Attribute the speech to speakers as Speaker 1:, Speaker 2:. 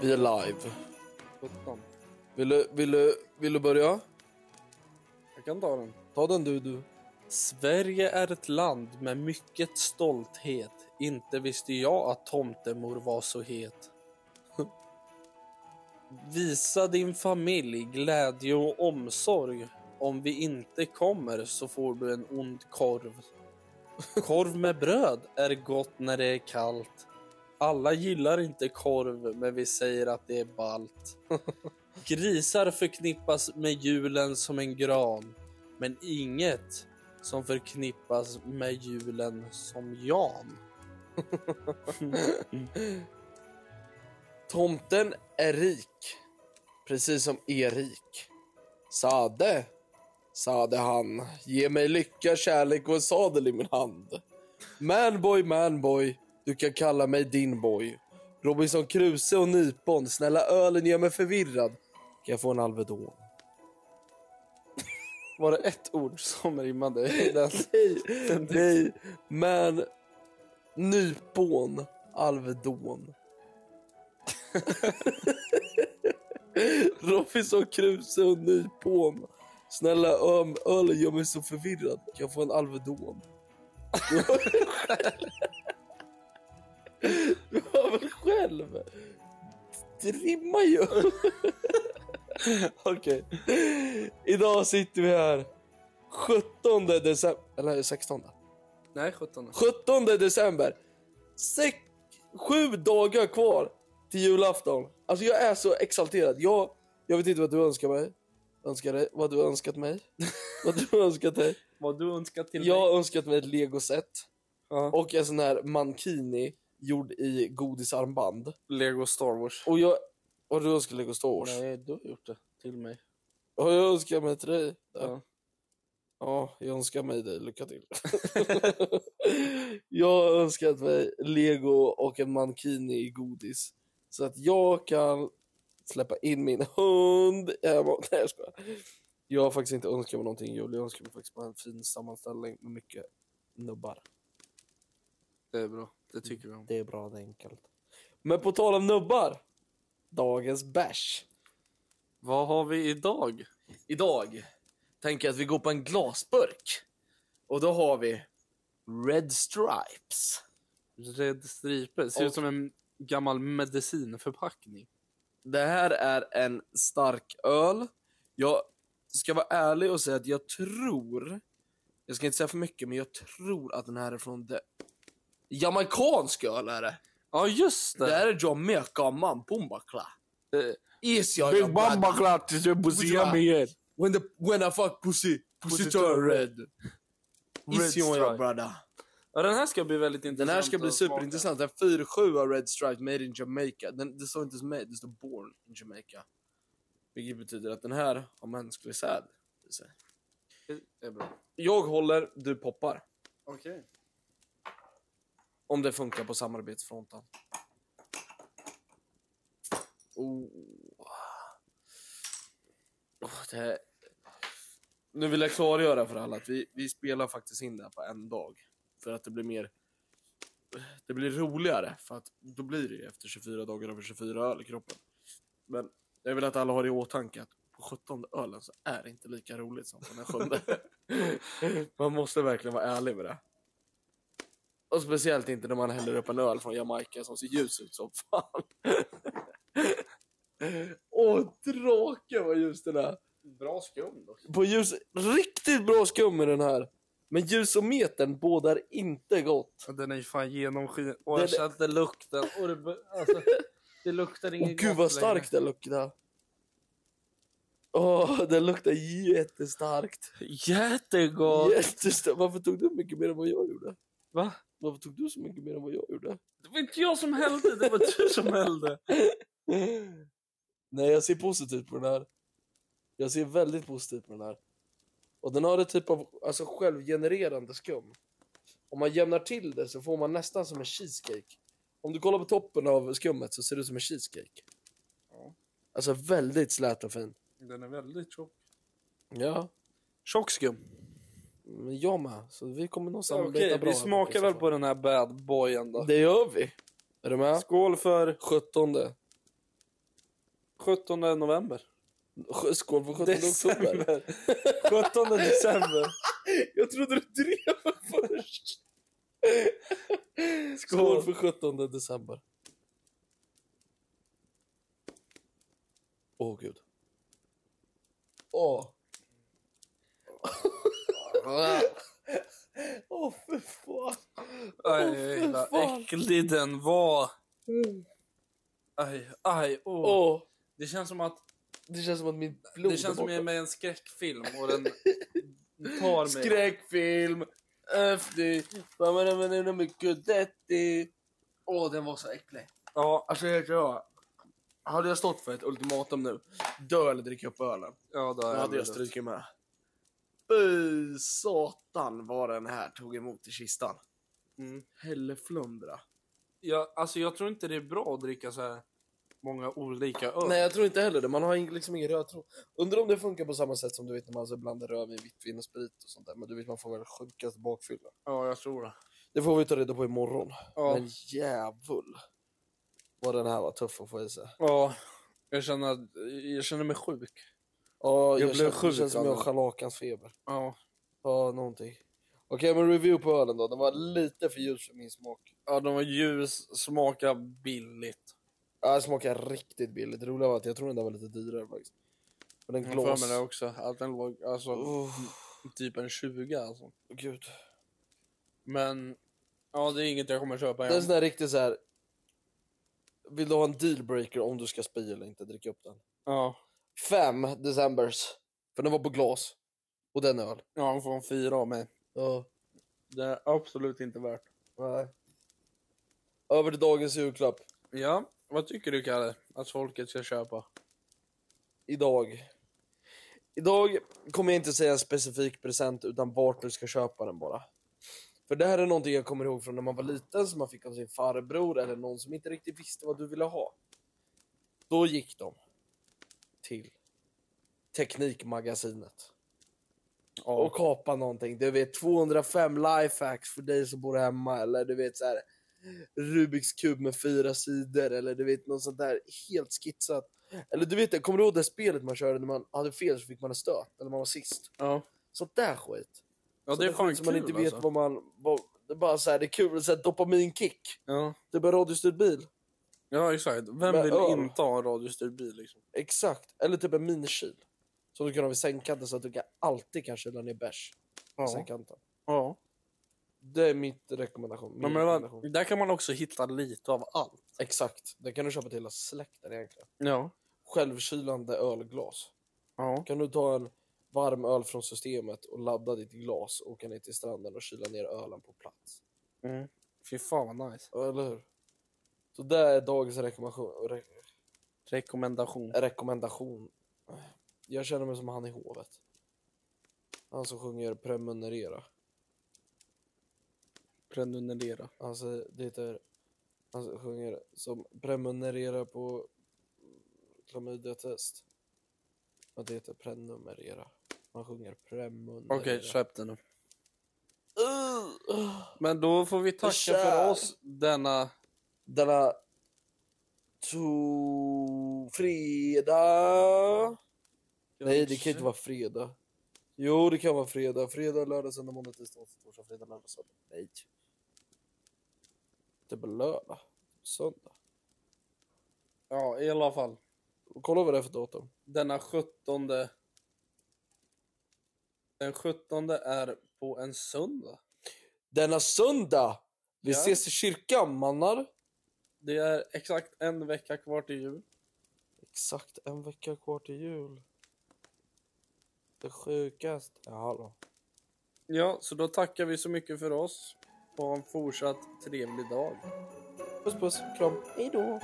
Speaker 1: Vi är live. Vill du, vill du, vill du börja?
Speaker 2: Jag kan ta den.
Speaker 1: Ta den du, du.
Speaker 2: Sverige är ett land med mycket stolthet. Inte visste jag att tomtemor var så het. Visa din familj glädje och omsorg. Om vi inte kommer så får du en ond korv. Korv med bröd är gott när det är kallt. Alla gillar inte korv, men vi säger att det är ballt. Grisar förknippas med julen som en gran, men inget som förknippas med julen som Jan.
Speaker 1: Tomten är rik. Precis som Erik. Sade, sade han. Ge mig lycka, kärlek och en sadel i min hand. Manboy, manboy. Du kan kalla mig din boy. Robinson Crusoe och nypon. Snälla ölen gör mig förvirrad. Kan jag få en Alvedon?
Speaker 2: Var det ett ord som rimmade i den?
Speaker 1: Nej, nej. Men nypon, Alvedon. Robinson Crusoe och nypon. Snälla öm, ölen gör mig så förvirrad. Kan jag få en Alvedon? Du hör väl själv? Det rimmar ju. Okej. Idag sitter vi här 17 december, eller 16.
Speaker 2: Nej, 17.
Speaker 1: 17 december. Sex, sju dagar kvar till julafton. Alltså jag är så exalterad. Jag, jag vet inte vad du önskar mig. Önskar dig, vad du önskat mig. vad du önskat dig.
Speaker 2: Vad du önskar till
Speaker 1: Jag
Speaker 2: mig?
Speaker 1: har önskat mig ett legoset
Speaker 2: Ja.
Speaker 1: och en sån här mankini gjord i godisarmband.
Speaker 2: Lego Star Wars.
Speaker 1: Och jag... Har du önskat Lego Star Wars?
Speaker 2: Nej, du har gjort det till mig.
Speaker 1: Har jag önskat mig till dig?
Speaker 2: Ja.
Speaker 1: Ja, jag önskar mig dig lycka till. jag har önskat mig lego och en mankini i godis. Så att jag kan släppa in min hund hemma. Nej, jag skojar. Jag har faktiskt inte önskat mig någonting i jul. Jag önskar mig faktiskt bara en fin sammanställning med mycket nubbar.
Speaker 2: Det är bra. Det tycker vi om.
Speaker 1: Det är bra, det är enkelt. Men på tal om nubbar. Dagens bärs.
Speaker 2: Vad har vi idag?
Speaker 1: Idag tänker jag att vi går på en glasburk. Och då har vi Red Stripes.
Speaker 2: Red Stripe. Ser
Speaker 1: Och-
Speaker 2: ut som en gammal medicinförpackning.
Speaker 1: Det här är en stark öl. Jag ska vara ärlig och säga att jag tror, jag ska inte säga för mycket, men jag tror att den här är från det Jamaicansk öl är det.
Speaker 2: Ja, just
Speaker 1: Det
Speaker 2: det.
Speaker 1: här är Jamaica mampumbakla.
Speaker 2: Eh,
Speaker 1: Is jag your brother.
Speaker 2: klart tills jag
Speaker 1: Pussy yummy When, the, when I fuck pussy, pussy
Speaker 2: Pussy
Speaker 1: turn
Speaker 2: turn
Speaker 1: red.
Speaker 2: Red
Speaker 1: Is you your
Speaker 2: stripe.
Speaker 1: brother.
Speaker 2: Ja, den här ska bli väldigt intressant
Speaker 1: Den här ska bli
Speaker 2: att smaka.
Speaker 1: superintressant. En 4-7 av Red Stripe made in Jamaica. Den, det står inte ens made, det står born in Jamaica. Vilket betyder att den här har mänsklig säd. i sig.
Speaker 2: Det är bra.
Speaker 1: Jag håller, du poppar.
Speaker 2: Okej.
Speaker 1: Om det funkar på samarbetsfronten. Oh. Oh, det här... Nu vill jag klargöra för alla att vi, vi spelar faktiskt in det här på en dag. För att det blir mer... Det blir roligare, för att då blir det ju efter 24 dagar över 24 öl i kroppen. Men jag vill att alla har i åtanke att på 17 ölen så är det inte lika roligt som på den sjunde. Man måste verkligen vara ärlig med det. Och speciellt inte när man häller upp en öl från Jamaica som ser ljus ut som fan. Åh, drake vad ljus den är!
Speaker 2: Bra skum dock.
Speaker 1: På ljus, riktigt bra skum i den här. Men ljusometern bådar inte gott.
Speaker 2: Den är ju fan genomskinlig. Och
Speaker 1: Den-
Speaker 2: jag kände lukten. Och det, be- alltså, det luktar
Speaker 1: Åh
Speaker 2: inget
Speaker 1: gud vad starkt det luktar. Åh, det luktar jättestarkt.
Speaker 2: Jättegott!
Speaker 1: Jättestarkt. Varför tog du mycket mer än vad jag gjorde?
Speaker 2: Va?
Speaker 1: Varför tog du så mycket mer än vad jag gjorde?
Speaker 2: Det var inte jag som hällde, det var du som hällde.
Speaker 1: Nej, jag ser positivt på den här. Jag ser väldigt positivt på den här. Och den har ett typ av alltså, självgenererande skum. Om man jämnar till det så får man nästan som en cheesecake. Om du kollar på toppen av skummet så ser det ut som en cheesecake.
Speaker 2: Ja.
Speaker 1: Alltså väldigt slät och fin.
Speaker 2: Den är väldigt tjock.
Speaker 1: Ja.
Speaker 2: Tjock skum.
Speaker 1: Men Mm, jag med, så vi kommer nog samarbeta
Speaker 2: Okej,
Speaker 1: bra.
Speaker 2: vi
Speaker 1: här
Speaker 2: smakar
Speaker 1: borta i
Speaker 2: väl
Speaker 1: så
Speaker 2: på den här bad boyen då.
Speaker 1: fall. Det gör vi. Är du med?
Speaker 2: Skål för
Speaker 1: 17.
Speaker 2: 17 november.
Speaker 1: Sk- Skål för 17 oktober.
Speaker 2: 17 december.
Speaker 1: Jag trodde du drev först.
Speaker 2: Skål.
Speaker 1: Skål för 17 december. Åh, gud. Åh. Åh, för fan.
Speaker 2: Aj,
Speaker 1: Åh, för
Speaker 2: vad
Speaker 1: fan.
Speaker 2: äcklig den var. Aj, aj, åh.
Speaker 1: Åh.
Speaker 2: Det känns som att
Speaker 1: Det känns som att mitt blod
Speaker 2: det känns som att jag är
Speaker 1: borta.
Speaker 2: med i en skräckfilm och den tar mig.
Speaker 1: Skräckfilm. Efter. Mamma, mycket detti. Åh, den var så äcklig.
Speaker 2: Ja,
Speaker 1: Alltså, jag tror... Hade jag stått för ett ultimatum nu, dö eller dricka upp ölen,
Speaker 2: ja då
Speaker 1: då
Speaker 2: är
Speaker 1: hade jag
Speaker 2: det.
Speaker 1: strukit med. Fy satan vad den här tog emot i kistan.
Speaker 2: Mm.
Speaker 1: Hälleflundra.
Speaker 2: Jag, alltså jag tror inte det är bra att dricka så här många olika öl.
Speaker 1: Nej, jag tror inte heller det. Man har ing- liksom ingen rödtråd. Undrar om det funkar på samma sätt som du vet när man så blandar rödvin, vitt vin och sprit och sånt där. Men du vet, man får väl sjukast bakfylla.
Speaker 2: Ja, jag tror det.
Speaker 1: Det får vi ta reda på imorgon.
Speaker 2: Ja.
Speaker 1: Men jävul vad den här var tuff att få i sig.
Speaker 2: ja. Jag känner, att, jag känner mig sjuk.
Speaker 1: Ja,
Speaker 2: Jag
Speaker 1: jag,
Speaker 2: blev
Speaker 1: känner,
Speaker 2: sjuk
Speaker 1: det känns som
Speaker 2: av
Speaker 1: jag har
Speaker 2: den.
Speaker 1: schalakans feber.
Speaker 2: Ja.
Speaker 1: Ja, någonting. Okej, men review på ölen då. Den var lite för ljus för min smak.
Speaker 2: ja, den var ljus, smakar billigt.
Speaker 1: Ja, den smakar riktigt billigt. Det roliga var att jag tror den där var lite dyrare faktiskt. Men den
Speaker 2: Jag har
Speaker 1: glas...
Speaker 2: för mig det också. Att den låg alltså,
Speaker 1: Oh,
Speaker 2: typ en 20 alltså.
Speaker 1: gud.
Speaker 2: Men ja, det är inget jag kommer köpa
Speaker 1: Det är en
Speaker 2: igen.
Speaker 1: sån där riktig så här... Vill du ha en dealbreaker om du ska spy eller inte? Drick upp den.
Speaker 2: Ja.
Speaker 1: Fem decembers. För den var på glas. Och den är öl.
Speaker 2: ja, han får en fyra av mig.
Speaker 1: Ja.
Speaker 2: Det är absolut inte värt.
Speaker 1: Nej. Över till dagens julklapp.
Speaker 2: Ja, vad tycker du Kalle? Att folket ska köpa?
Speaker 1: idag. Idag kommer jag inte säga en specifik present utan vart du ska köpa den bara. För det här är någonting jag kommer ihåg från när man var liten som man fick av sin farbror eller någon som inte riktigt visste vad du ville ha. Då gick de till Teknikmagasinet
Speaker 2: Ja.
Speaker 1: och kapa någonting. Du vet 205 lifehacks för dig som bor hemma eller du vet så här Rubiks kub med fyra sidor eller du vet något sånt där helt skitsat. Eller du vet det, kommer du ihåg det spelet man körde när man hade fel så fick man en stöt eller man var sist?
Speaker 2: ja.
Speaker 1: Sånt där skit.
Speaker 2: ja,
Speaker 1: Sånt
Speaker 2: det är
Speaker 1: där
Speaker 2: fan
Speaker 1: skit
Speaker 2: kul
Speaker 1: som man inte vet
Speaker 2: alltså.
Speaker 1: vad man... Vad, det är bara så här, det är kul, så här dopaminkick.
Speaker 2: Ja.
Speaker 1: Det är bara radiostyrd bil.
Speaker 2: ja, exakt. Vem
Speaker 1: Men
Speaker 2: vill
Speaker 1: öl.
Speaker 2: inte ha en radiostyrd bil liksom?
Speaker 1: Exakt. Eller typ en minikyl. Som du kan ha vid sängkanten så att du kan alltid kan kyla ner bärs på
Speaker 2: Ja.
Speaker 1: sängkanten.
Speaker 2: ja.
Speaker 1: Det är mitt rekommendation. Min
Speaker 2: Men, men,
Speaker 1: rekommendation.
Speaker 2: vad- där kan man också hitta lite av allt.
Speaker 1: Exakt. Det kan du köpa till hela släkten egentligen.
Speaker 2: Ja.
Speaker 1: Självkylande ölglas.
Speaker 2: Ja.
Speaker 1: Kan du ta en varm öl från systemet och ladda ditt glas och åka ner till stranden och kyla ner ölen på plats.
Speaker 2: Mm. Fy fan vad nice.
Speaker 1: Ja, Eller hur? Så det är dagens rekommendation. Re
Speaker 2: Rekommendation.
Speaker 1: rekommendation. Jag känner mig som han i hovet. Han som sjunger prenumerera.
Speaker 2: Prenumerera.
Speaker 1: Han säger, det heter, han sjunger som prenumerera på klamydiatest. Men det heter prenumerera. Man sjunger prenumerera.
Speaker 2: Okej, släpp den nu.
Speaker 1: Uh,
Speaker 2: Men då får vi tacka
Speaker 1: Kör.
Speaker 2: för oss denna...
Speaker 1: Denna to fredag. Nej, det kan inte vara fredag. Jo, det kan vara fredag. Fredag, lördag, söndag, måndag, tisdag, onsdag, torsdag, fredag, lördag, söndag. Nej. Det blir lördag. Söndag.
Speaker 2: Ja, i alla fall.
Speaker 1: Och kolla vad det är för datum.
Speaker 2: Denna 17... Den 17 är på en söndag.
Speaker 1: Denna söndag! Vi
Speaker 2: Ja.
Speaker 1: ses i kyrkan, mannar.
Speaker 2: Det är exakt en vecka kvar till jul.
Speaker 1: Exakt en vecka kvar till jul. Det sjukaste. Ja, då.
Speaker 2: Ja, så då tackar vi så mycket för oss. Ha en fortsatt trevlig dag.
Speaker 1: Puss, puss. Kram. Hej då.